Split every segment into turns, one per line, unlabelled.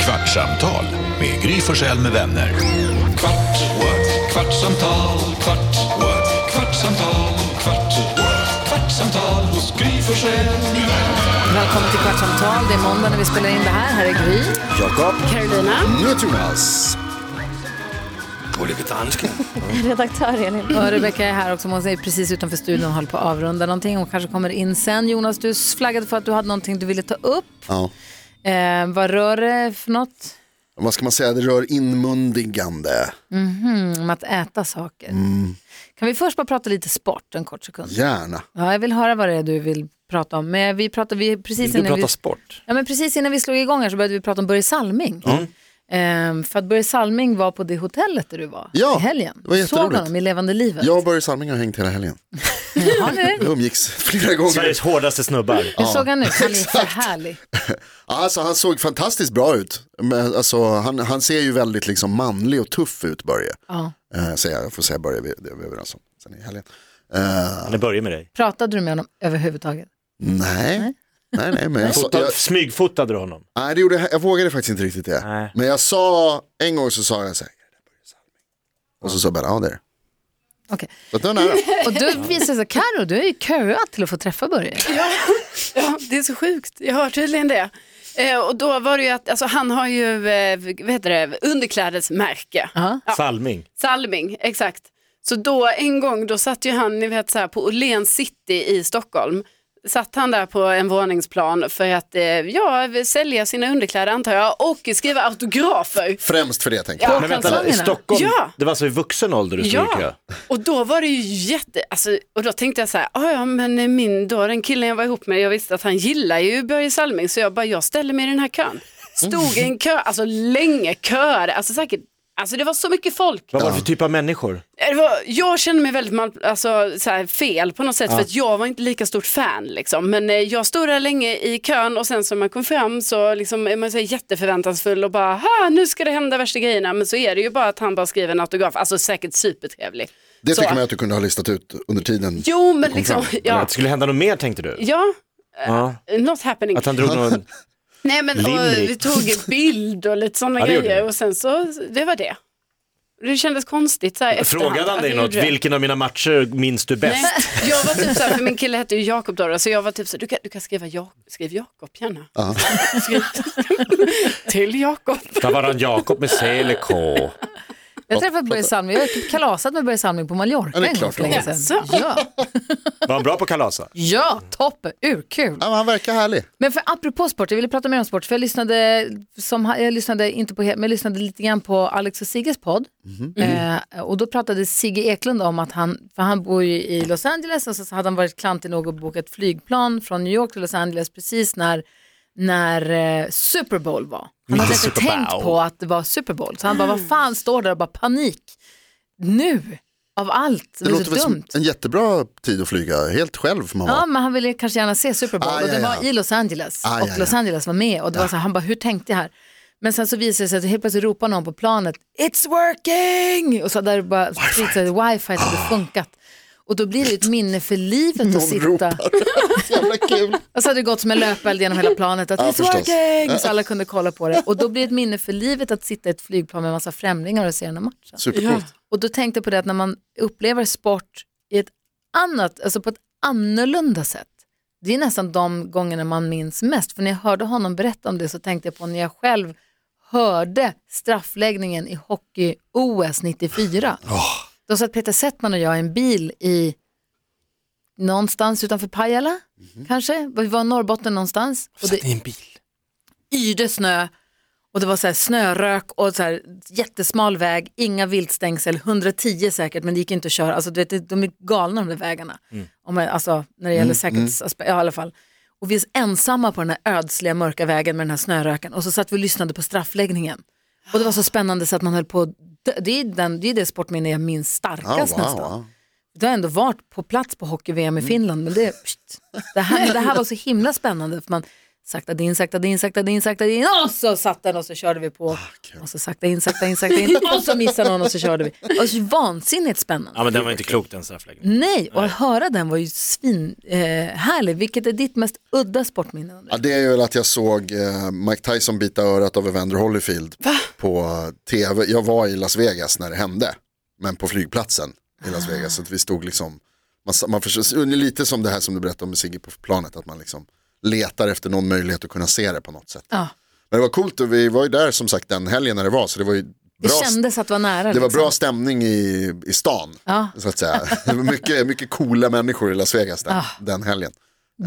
Kvartsamtal med Gry Forssell med vänner. Kvart, what? kvartsamtal, kvart, what? kvartsamtal, kvart, what? kvartsamtal hos Gry Forssell med vänner.
Välkommen till Kvartsamtal. Det är måndag när vi spelar in det här. Här är Gry.
Jakob.
Carolina.
Jonas. Och lite danska.
Redaktör Elin.
Och Rebecka är här också. Hon är precis utanför studion och håller på att avrunda någonting. Hon kanske kommer in sen. Jonas, du flaggade för att du hade någonting du ville ta upp.
Ja.
Eh, vad rör det för något?
Vad ska man säga, det rör inmundigande.
Mhm, om att äta saker. Kan vi först bara prata lite sport en kort sekund?
Gärna.
Ja, jag vill höra vad det är du vill prata om. Men vi pratade, vi, precis, innan vi,
sport?
ja, men precis innan vi slog igång här så började vi prata om Börje Salming. Ehm, för att Börje Salming var på det hotellet där du var
Ja,
i helgen.
det var
Såg
jätteroligt.
honom i levande livet.
Jag och Börje Salming har hängt hela helgen.
Har ni det?
Vi umgicks flera gånger.
Sveriges hårdaste snubbar.
Hur såg han ut? Han är så härlig.
Alltså, han såg fantastiskt bra ut. Men, alltså, han, han ser ju väldigt liksom, manlig och tuff ut, Börje.
Ja.
Eh, säger jag. jag får säga Börje, vi- det är vi överens om. Sen i helgen. Eh,
Det börjar med dig.
Pratade du med honom överhuvudtaget?
nej. Nej, nej, men jag, sa-
Fota,
jag,
Smygfotade du honom?
nej, det gjorde, jag- jag vågade faktiskt inte riktigt det.
Nej.
Men jag sa, en gång så sa jag så här, "Är det där Börje Salming?" och så sa Bella, ja det är det.
Okej.
Så att det var nära.
Och du visade sig, Karo, du är ju köat till att få träffa Börje.
Ja, det är så sjukt. Jag hör tydligen det. Eh, och då var det ju att, alltså han har ju, eh, vad heter det, underklädesmärke.
Ja.
Salming.
Salming, exakt. Så då en gång, då satt ju han, ni vet så här, på Åhléns city i Stockholm. Satt han där på en våningsplan för att, eh, ja, sälja sina underkläder antar jag och skriva autografer.
Främst för det tänker
Ja.
jag.
Men vänta, i
Salmingarna.
Stockholm,
Ja.
det var alltså i vuxen ålder du stod i kö?
Ja, och då var det ju jätte, alltså, och då tänkte jag så här, "Ah, ja men min då, den killen jag var ihop med, jag visste att han gillar ju Börje Salming, så jag bara, jag ställer mig i den här kön. Stod i en kö, alltså länge köade, alltså säkert, alltså det var så mycket folk. Eh,
Vad var det för typ av människor?
Det var, jag kände mig väldigt mal, alltså, så här, fel på något sätt, för att jag var inte lika stort fan liksom. Men eh, jag stod där länge i kön och sen så när man kom fram så liksom, är man så här, jätteförväntansfull och bara, "Ha, nu ska det hända värsta grejerna, men så är det ju bara att han bara skriver en autograf, alltså säkert supertrevlig.
Det
Så.
tycker man att du kunde ha listat ut under tiden.
Jo, men
kom
liksom,
fram.
Eller Att
ja,
det skulle hända något mer tänkte du?
ja,
Ja.
not happening.
Att han drog någon...
Nej, men och,
Limerick.
vi tog en bild och lite sådana
Ja, det gjorde
grejer
vi.
och sen så, det var det. Det kändes konstigt så här efterhand
Frågade han
att
dig
jag
något?
gjorde det.
Vilken av mina matcher minns du bäst?
Nej, jag var typ så här, för min kille hette ju Jakob då, så jag var typ så här, du kan, du kan skriva ja, skriv Jakob gärna.
Ja.
Skriv, till Jakob.
Där var han Jakob med C eller K.
Jag träffade Börje Salming, jag har typ kalasat med Börje Salming på Mallorca
Ja, det är
en gång
klart
för
du
länge
har.
sedan. Ja,
Var han bra på kalasa?
ja toppen, urkul.
Ja, men han verkar härlig.
Men för apropå sport, jag ville prata mer om sport, för jag lyssnade, som, ha- jag lyssnade inte på, he- men jag lyssnade lite grann på Alex och Sigges podd. Eh, och då pratade Sigge Eklund om att han, för han bor ju i Los Angeles och så hade han varit klantig nog att boka ett flygplan från New York till Los Angeles precis när, när eh, Super Bowl var. Han hade
Mitt i
inte
Super
tänkt
Bowl.
på att det var Super Bowl, så han bara, vad fan står där och bara panik nu av allt, det,
Det
är
låter
så
väl
dumt.
som en jättebra tid att flyga helt själv får man
Ja,
vara.
men han ville kanske gärna se Super Bowl
Ah,
och
ja,
det
ja.
var i Los Angeles
Ah,
och
ja,
Los
ja.
Angeles var med och det var så här, han bara, hur tänkte jag här? Men sen så visade det sig att helt plötsligt ropade någon på planet, it's working! Och så där bara spritt sig, wifi hade funkat. Och då blir det ju ett minne för livet att
Ah. Någon
sitta.
ropar. Jävla kul.
Och så hade det gått som en löpeld genom hela planet att
Ja,
it's
förstås.
working! Så alla kunde kolla på det. Och då blir det ett minne för livet att sitta i ett flygplan med en massa främlingar och se den här matchen.
Supercoolt.
Och då tänkte jag på det att när man upplever sport i ett annat, alltså på ett annorlunda sätt, det är nästan de gångerna man minns mest. För när jag hörde honom berätta om det så tänkte jag på när jag själv hörde straffläggningen i hockey-OS 94. Då satt Peter Settman och jag i en bil i någonstans utanför Pajala, kanske. Vi var i Norrbotten någonstans. Och det
Mhm. i en bil.
yrde snö och det var så här snörök och så här jättesmal väg, inga viltstängsel, 110 säkert men det gick inte att köra. Alltså, du vet, det- de är galna de där vägarna.
Mm.
Om man, alltså, när det gäller säkerhetsaspekter, ja, i alla fall. Och vi är ensamma på den här ödsliga mörka vägen med den här snöröken och så satt vi och lyssnade på straffläggningen. Och det var så spännande så att man höll på att dö. det är, den, det är det sportminne jag minns
Ja,
Ah,
starkast
wow,
nästan.
wow.
Du har ändå varit på plats på hockey-VM i Finland, men det, pst, det, här, det här var så himla spännande. För man sakta in, sakta in, sakta in, sakta in och så satt den och så körde vi på. Och så sakta in, sakta in, sakta in och så missade någon och så körde vi. Och så vansinnigt spännande.
Ja men den var inte klok den straffläggningen.
Nej, och att höra den var ju svin, eh, härlig. Vilket är ditt mest udda sportminne? undrar
Ja,
jag?
det är väl att jag såg eh, Mike Tyson bita örat av Evander Holyfield på eh, tv. Jag var i Las Vegas när det hände, men på flygplatsen i
Ah.
Las Vegas. Så att vi stod liksom, man, sa- man försöker, det är lite som det här som du berättade om med Sigge på planet, att man liksom letar efter någon möjlighet att kunna se det på något sätt.
Ja.
Men det var coolt, och vi var ju där som sagt den helgen när det var, så det var ju
Det
bra,
kändes att vara nära.
det var
liksom.
bra stämning i, i stan.
Ja.
Så att säga. Det var mycket, mycket coola människor i Las Vegas
Ah.
den, den helgen.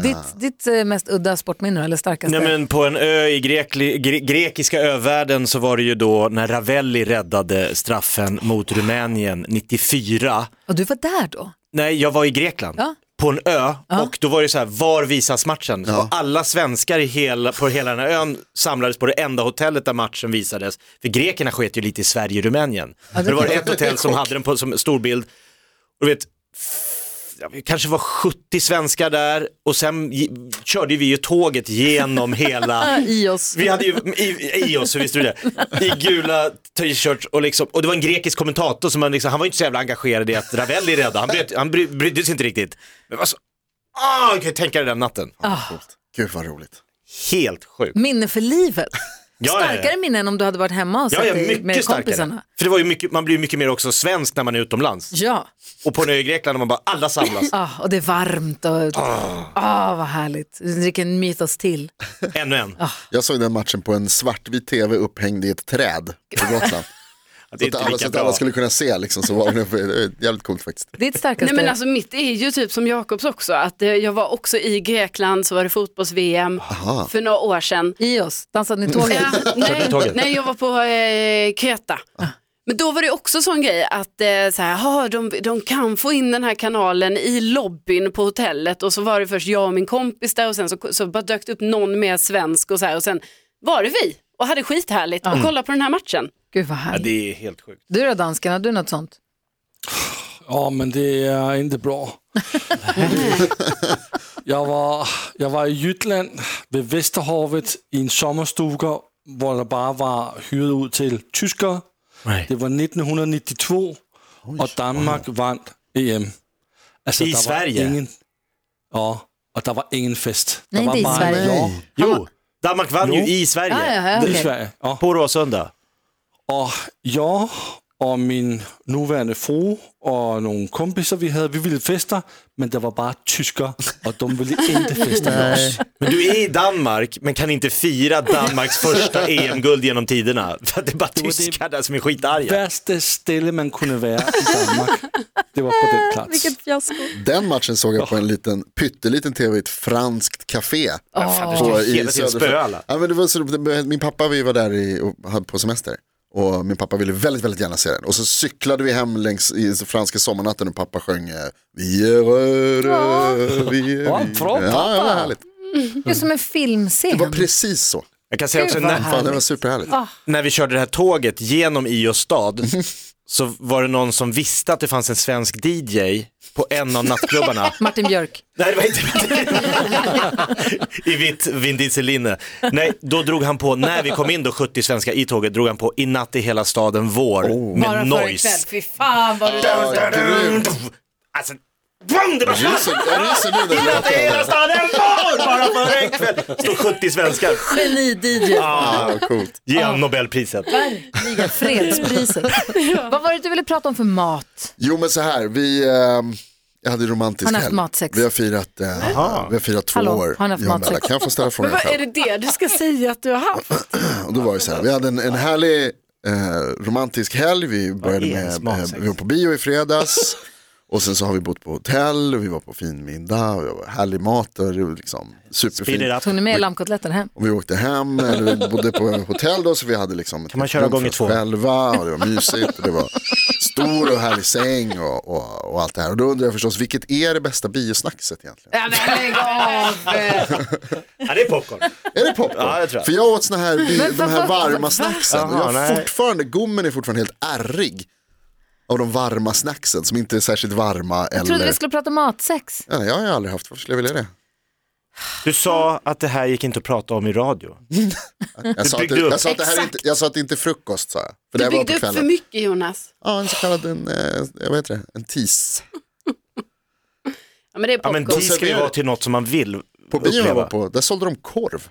Ditt, ditt eh, mest udda sportminne eller starkaste?
Nej men på en ö i Grekli, gre, grekiska övärlden så var det ju då när Ravelli räddade straffen mot Rumänien 94.
Och du var där då?
Nej, jag var i Grekland.
Ja.
På en ö och då var det så här, var visas matchen? Och alla svenskar i hela, på hela den här ön samlades på det enda hotellet där matchen visades. För grekerna sket ju lite i Sverige och Rumänien. Men det var ett hotell som hade den på som stor bild. Och du vet, ja, vi kanske var 70 svenskar där och sen gi- körde vi ju tåget genom hela
I oss.
vi hade ju i, i oss, hur visste du det? I gula t-shirts och liksom, och det var en grekisk kommentator som man liksom, han var ju inte så jävla engagerad i att Ravelli räddade, han, brydde, han bry, brydde sig inte riktigt. Men alltså, ah, jag kan ju tänka dig den natten.
Coolt. Gud vad roligt.
Helt sjukt.
Minne för livet.
Ja, ja, ja.
starkare minne än om du hade varit hemma och
Ja,
sett
ja,
dig med
mycket starkare.
kompisarna.
För det var ju mycket, man blir ju mycket mer också svensk när man är utomlands.
Ja,
Och på en ö i Grekland, man bara, alla samlas,
ah, och det är varmt och ah. vad härligt. Dricker en mytos till.
ännu en.
Jag såg den matchen på en svartvit tv upphängd i ett träd på Gotland.
Det
så
är
att
inte
alla, så
lika
att alla
bra.
skulle kunna se liksom, så var den uppe. Det är jävligt coolt faktiskt.
Ditt starkaste?
Nej men alltså mitt är ju typ som Jakobs också, att eh, jag var också i Grekland så var det fotbolls-VM för några år sedan.
I oss, dansade ni tåget?
Ja, nej,
taget.
nej, jag var på eh, Kreta. Men då var det också sån grej att eh, så här, "Ha, de, de kan få in den här kanalen i lobbyn på hotellet och så var det först jag och min kompis där och sen så, så bara dök det upp någon mer svensk och så här och sen var det vi och hade skithärligt och kollade på den här matchen.
Gud vad
Ja,
härligt.
det är helt sjukt.
Du då dansken, har du något sånt?
Ja, men det är inte bra. jag, var, jag var i Jytland vid Västerhavet i en sommarstuga där det bara var hyret ut till tyskar.
Nej.
Det var 1992 och Danmark vann EM. Alltså,
I
der var
Sverige?
Ingen, ja, och det var ingen fest.
Nej,
der var
inte i Sverige.
Ja,
Jo, Danmark vann ju
Jo.
i
Ja,
Sverige,
ja, ja,
det är i
okej.
Sverige. Ja.
på Råsunda.
Och jag och min nuvarande fru och några kompisar vi hade, vi ville festa, men det var bara tyskar och de ville inte festa med oss.
Men du är i Danmark men kan inte fira Danmarks första EM-guld genom tiderna. För att det är bara
det-
tyskar där som är skitarga.
Värsta ställe man kunde vara i Danmark, det var på den plats.
Den matchen såg jag på en liten, pytteliten tv i ett franskt café.
ska ju hela tiden
Söderfors.
spöa alla.
ja, men det var så, det- Min pappa vi var där i, och hade på semester. Och min pappa ville väldigt, väldigt gärna se den. Och så cyklade vi hem längs i franska sommarnatten och pappa sjöng eh, Vi är röda, vi är
Ja,
vi-
bra,
Ja, det var härligt.
Det är som en filmscen.
Det var precis så.
Jag kan säga också
Gud, vad
när,
Fan, det var superhärligt.
när vi körde det här tåget genom Io stad så var det någon som visste att det fanns en svensk DJ på en av nattklubbarna.
Martin Björk.
Nej, det var inte I vitt Vin Diesel-linne. Nej, då drog han på, när vi kom in då, 70 svenskar i tåget, drog han på I natt i hela staden vår
Oh. Bara
med
för en
noise.
kväll. Fy fan vad du dansade.
Ja, grymt.
Alltså, boom, det bara
Jag ryser- Jag ryser nu när det
Att
låter.
hela staden var bara för en kväll. Står 70 svenskar.
Geni-DJ.
Ja, coolt.
Ge honom Nobelpriset.
Verkligen, fredspriset. Vad var det du ville prata om för mat?
Jo men så här, vi, ehm, jag hade romantisk
Har ni haft
helg.
matsex?
Vi har firat, eh, vi har firat två
Hallå,
år.
har ni haft
jag och Bella.
matsex?
Kan jag få ställa frågan själv?
det du ska säga att du har haft?
Och då var det så här, vi hade en, en härlig eh, romantisk helg. Vi började
är ens
med, eh,
matsex?
vi var på bio i fredags. och sen så har vi bott på hotell och vi var på fin middag. Och det var härlig mat och det var liksom
Speed it
superfint.
up.
Tog ni med lammkotletten hem?
Och vi åkte hem, eller vi bodde på hotell då, så vi hade liksom ett
Kan man köra
rum för
gånger
oss
två?
själva och det var mysigt och det var stor och härlig säng och, och, och allt det här. Och då undrar jag förstås, vilket är det bästa biosnackset egentligen?
Ja, men lägg av!
Ja, det är popcorn.
Är det popcorn?
Ja, det tror jag.
För jag åt såna här, de här
vad-
varma snacksen. och jag
Jaha,
har
nej.
fortfarande, gommen är fortfarande helt ärrig av de varma snacksen som inte är särskilt varma
Jag trodde
eller...
vi skulle prata matsex.
Ja, jag har ju aldrig haft, varför skulle jag vilja det?
Du sa att det här gick inte att prata om i radio.
Jag sa, att,
byggde upp.
jag, sa att det här inte, jag sa att det inte är frukost sa jag. För det
Du
här var
byggde
på
upp för
kvällen.
mycket Jonas.
Ja, en så kallad, en, eh, jag vet inte, en tis.
Ja, men det är
Ja, men
popcorn.
det ska ju
serverar-
vara till något som man vill
På bion jag var
uppleva.
på, där sålde de korv.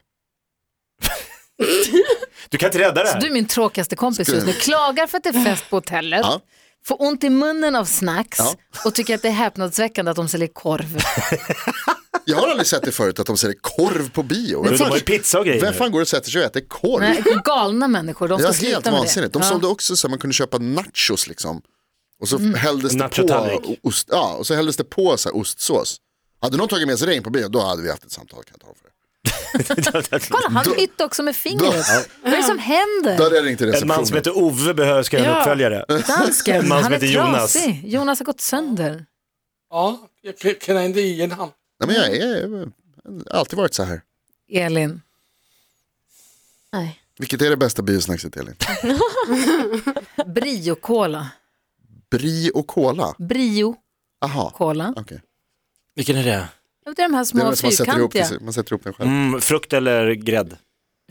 Du kan inte rädda det
Så du är
här.
min tråkigaste kompis just nu. Klagar för att det är fest på hotellet,
Ja.
får ont i munnen av snacks
Ja.
och tycker att det är häpnadsväckande att de säljer korv.
Jag har aldrig sett det förut att de säljer korv på bio.
Du,
Vem
De har ju
fan,
pizza och
vem
grejer nu.
fan går och sätter sig och äter korv?
Nej, galna människor, de
Det
ska
var
sluta
helt
med
vansinnigt.
det.
De sålde också så att man kunde köpa nachos liksom. Och
Mm.
så hälldes det på
Nachotallrik.
ost, ja, och så hälldes det på så här ostsås. Hade någon tagit med sig regn på bio, då hade vi haft ett samtal kan jag tala om för det.
Kolla, han hytte också med fingret. Vad är det som händer?
Då hade jag ringt till
En man som
receptionen.
heter Ove behöver ska göra en
Ja.
uppföljare.
Dansken,
En man som
han är
heter Jonas.
trasig. Jonas har gått sönder.
Ja, jag k- känner inte igen honom.
Nej, men jag är- jag har alltid varit så här.
Elin. Nej.
Vilket är det bästa biosnackset Elin?
Brio-cola.
Brie och cola?
Brio-cola.
Aha, okej.
Vilken är det?
Det är de här
Det är
små
det som man sätter, ihop
fyrkantiga.
till, sig- man sätter ihop den själv.
Mm, frukt eller grädd?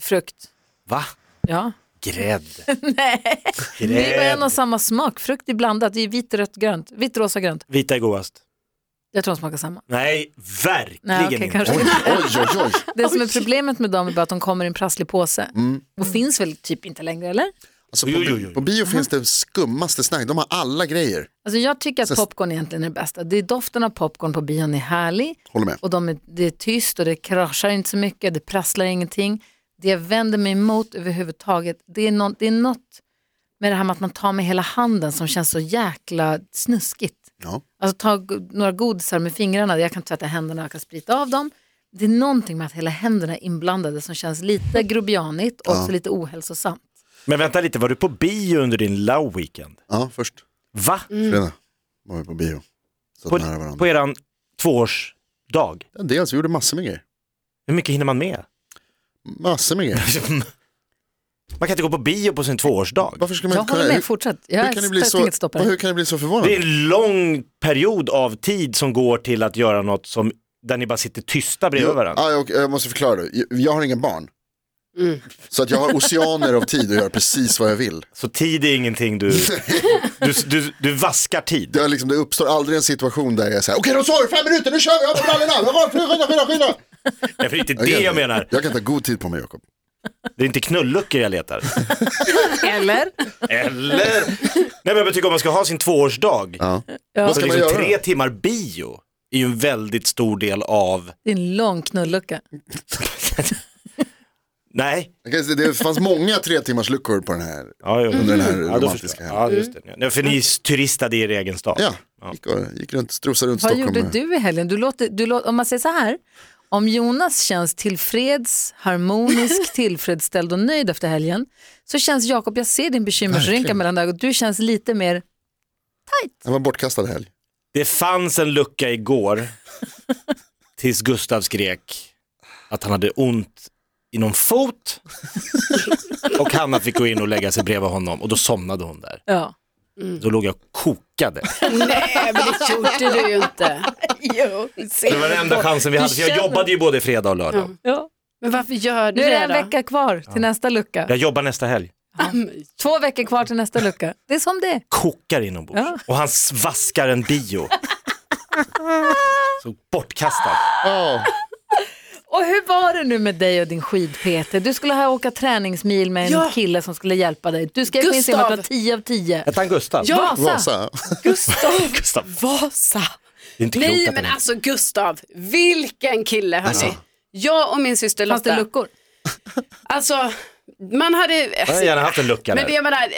Frukt.
Va?
Ja.
Grädd?
Nej, det är bara en
Grädd.
och samma smak. Frukt är blandat. Det är vitt, rött, grönt. Vitt, rosa, grönt.
Vita är godast.
Jag tror de smakar samma.
Nej,
Nej,
verkligen
okej,
inte.
kanske.
Oj, oj, oj, oj.
Det som är problemet med dem är bara att de kommer i en prasslig påse.
Mm.
Och finns väl typ inte längre, eller?
Alltså,
Oj,
på,
oj, oj,
bi-
oj.
på bio finns det skummaste snack, de har alla grejer.
Alltså jag tycker
Så-
att popcorn egentligen är det bästa. Det är doften av popcorn på bion är härlig.
Håller med.
Och de är, det är tyst och det kraschar inte så mycket, det prasslar ingenting. Det jag vänder mig emot överhuvudtaget, det är, nå- det är något med det här med att man tar med hela handen som känns så jäkla snuskigt.
Ja.
Alltså ta go- några godisar med fingrarna, jag kan tvätta händerna, jag kan sprita av dem. Det är någonting med att hela händerna är inblandade som känns lite grobianigt och också lite ohälsosamt.
Men vänta lite, var du på bio under din low weekend?
Ja, först.
Va?
Mm.
Fredag var vi på bio. Så
På,
nära varandra.
på eran tvåårsdag?
Dels, vi gjorde massor med grejer.
Hur mycket hinner man med?
Massor med grejer.
Man kan inte gå på bio på sin tvåårsdag.
Varför skulle man
Jag
inte kunna...
håller med,
hur,
fortsätt. Jag
hur, kan det bli
sätter
så,
inget stopp här.
hur kan det bli så
Det är
förvånande?
en lång period av tid som går till att göra något som, där ni bara sitter tysta bredvid varandra.
Ja, jag, jag måste förklara det. Jag- Jag har inga barn.
Mm.
Så att jag har oceaner av tid att göra precis vad jag vill.
Så tid är ingenting du, du, du, du vaskar tid.
Det, är liksom, det uppstår aldrig en situation där jag säger okej då sa du fem minuter, nu kör vi, av med brallorna, Bra, skynda, skynda, skynda.
Det är inte det jag menar.
Jag kan ta god tid på mig Jakob.
Det är inte knulluckor jag letar.
Eller?
Eller? Nej men jag tycker om man ska ha sin tvåårsdag.
Ja.
Ja,
Vad ska man
Liksom
göra
tre
då?
timmar bio är ju en väldigt stor del av,
det är en lång knullucka.
nej.
Jag kan säga, Det fanns många tre timmars luckor på den här.
Ja, jo.
Under den här
Mm. ja, då
romantiska
förstår jag.
helgen. Mm.
Ja, just det. Nej, för ni turistade i er egen stad.
Ja, gick, och, gick runt, strosade runt
Vad
Stockholm.
gjorde du i helgen? Du låter, du låter, om man säger så här, om Jonas känns tillfreds, harmonisk, tillfredsställd och nöjd efter helgen, så känns Jakob, jag ser din bekymmersrynka
Verkligen.
mellan ögonen, du känns lite mer,
Det var en bortkastad helg.
Det fanns en lucka igår tills Gustav skrek att han hade ont i någon fot och Hanna fick gå in och lägga sig bredvid honom och då somnade hon där.
ja.
Mm.
Då låg jag och kokade.
Nej, men det gjorde du ju inte.
Det var den enda chansen vi hade, för jag jobbade ju både fredag och lördag.
ja.
Men varför gör du
Nu är det
det,
en vecka kvar till nästa lucka.
Jag jobbar nästa helg,
Två veckor kvar till nästa lucka. Det är som det är.
kokar inombords
Ja.
och han s- vaskar en bio. Så bortkastad.
Ja.
Och hur var det nu med dig och din skid-Peter? Du skulle ha åka träningsmil med en
Ja.
kille som skulle hjälpa dig. Du skrev på Instagram att du var 10 av 10.
Hette han Gustav?
Ja.
Vasa.
Vasa.
Gustav
Gustav.
Vasa.
Det är inte
Nej,
klokt att
men
han inte...
alltså Gustav, vilken kille hörni.
Alltså.
Jag och min syster
Fanns det
Lotta,
luckor?
alltså man hade...
Jag hade gärna haft en lucka
Men
där.
jag menar, eh,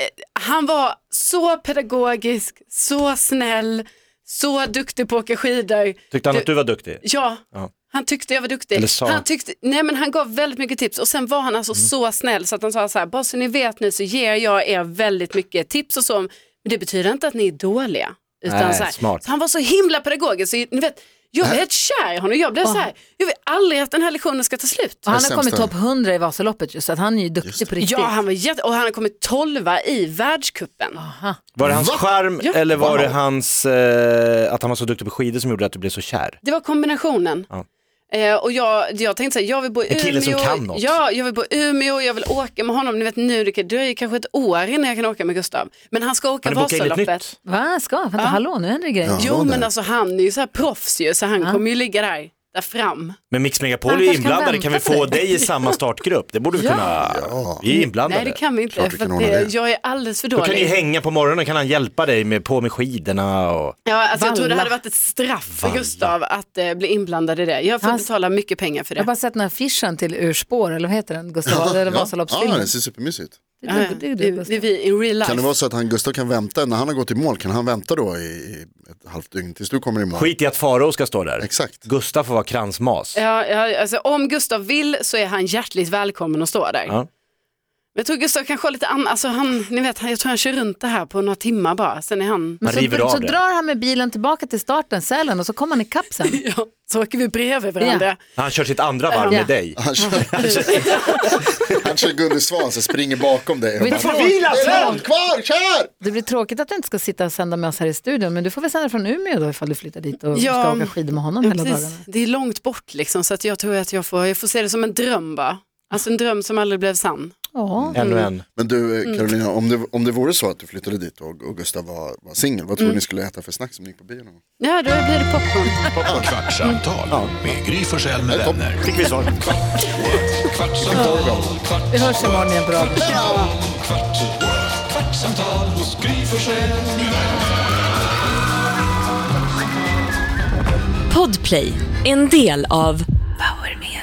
han var så pedagogisk, så snäll, så duktig på att åka skidor.
Tyckte han att du var duktig?
Ja,
Ja.
han tyckte jag var duktig.
Eller sa. Mm.
Han, tyckte, nej, men han gav väldigt mycket tips och sen var han alltså så snäll så att han sa så här, bara så ni vet nu så ger jag er väldigt mycket tips och så, men det betyder inte att ni är dåliga. Utan
Nej,
så här,
smart. Äh.
Så han var så himla pedagogisk, så, ni vet, jag blev helt kär i honom, jag blev så här, jag vill aldrig att den här lektionen ska ta slut.
Och han har
sämsta.
kommit topp 100 i Vasaloppet just så att han är ju duktig på riktigt.
Ja, han var jätte, och han har kommit tolva i världscupen.
Var det hans charm
Ja.
eller var
Wow.
det hans, eh, att han var så duktig på skidor som gjorde att du blev så kär?
Det var kombinationen.
Ja.
Eh, och jag, jag tänkte så här, jag vill bo i
En kille som
Umeå.
kan något.
Ja, jag vill bo i Umeå, jag vill åka med honom. Ni vet nu, det kan- det dröjer kanske ett år innan jag kan åka med Gustav. Men han ska åka
Har du bokat in ett
Vasaloppet.
nytt?
Va, ska? Vänta, hallå, nu händer det grejer.
Jo,
det.
men alltså han är ju så här proffs ju, så han kommer ju ligga där, där fram.
Men Mix Megapol
Han
är
kanske kan
inblandade,
vänta
kan vi
på
få
dig.
dig i samma startgrupp? Det borde vi
Ja.
kunna. Vi är inblandade.
Nej, det kan vi inte,
Klart vi
för
kan
att,
ordna
eh,
det.
jag är alldeles för
Då kan ni
dålig.
hänga på morgonen, kan han hjälpa dig med, på med skidorna och...
Ja, alltså, jag tror det
Valla.
hade varit ett straff för Gustav att eh, bli inblandad i det. Jag får
Han-
betala mycket pengar för
Jag har
det.
bara sett den här affischen till Urspår, eller vad heter den? Gustav Vasa, eller
ja,
Vasaloppsfilmen.
det ser supermysigt ut.
Det
Ja,
är
ja.
du- det är
Det
du,
det är
Gustav.
vi in real life.
Kan det vara så att han, Gustav kan vänta, när han har gått i mål, kan han vänta då i i ett halvt dygn tills du kommer i mål?
Skit i att Farao ska stå där.
Exakt.
Gustav får vara kransmas.
Ja, ja, alltså, om Gustav vill så är han hjärtligt välkommen att stå där.
Ja.
Men jag tror Gustav kanske har lite annan, alltså han, ni vet, han- jag tror han kör runt det här på några timmar bara, sen är han,
Men
Man river
så,
av
så
det.
drar han med bilen tillbaka till starten, Sälen, och så kommer han ikapp sen.
ja, så åker vi bredvid varandra.
Han kör sitt andra varv
Ja.
med dig.
Han kör, han kör Gunde Svansen, springer bakom dig. Och
Vi
bara,
får
vila
det är
sen!"
långt kvar, kör!
Det blir tråkigt att du inte ska sitta och sända med oss här i studion, men du får väl sända från Umeå då ifall du flyttar dit och
Ja.
ska åka skidor med honom
Ja,
hela
precis.
dagarna.
Det är långt bort liksom, så att jag tror att jag får, jag får se det som en dröm bara. Alltså en dröm som aldrig blev sann.
Ja.
Ännu en.
Men du
Mm.
eh, Carolina, om det, om det vore så att du flyttade dit och, och Gustav var, var singel, vad
Mm.
tror du ni skulle äta för snack som ni gick på bio någon gång?
Ja, då blir det popcorn.
Kvartsamtal med Gry Forssell med vänner.
Fick vi svar.
Kvart, what? kvartsamtal, kvart,
Vi hörs imorgon i en bra bit.
kvart, what? kvartsamtal hos Gry Forssell med vänner.
Podplay, en del av Power Media.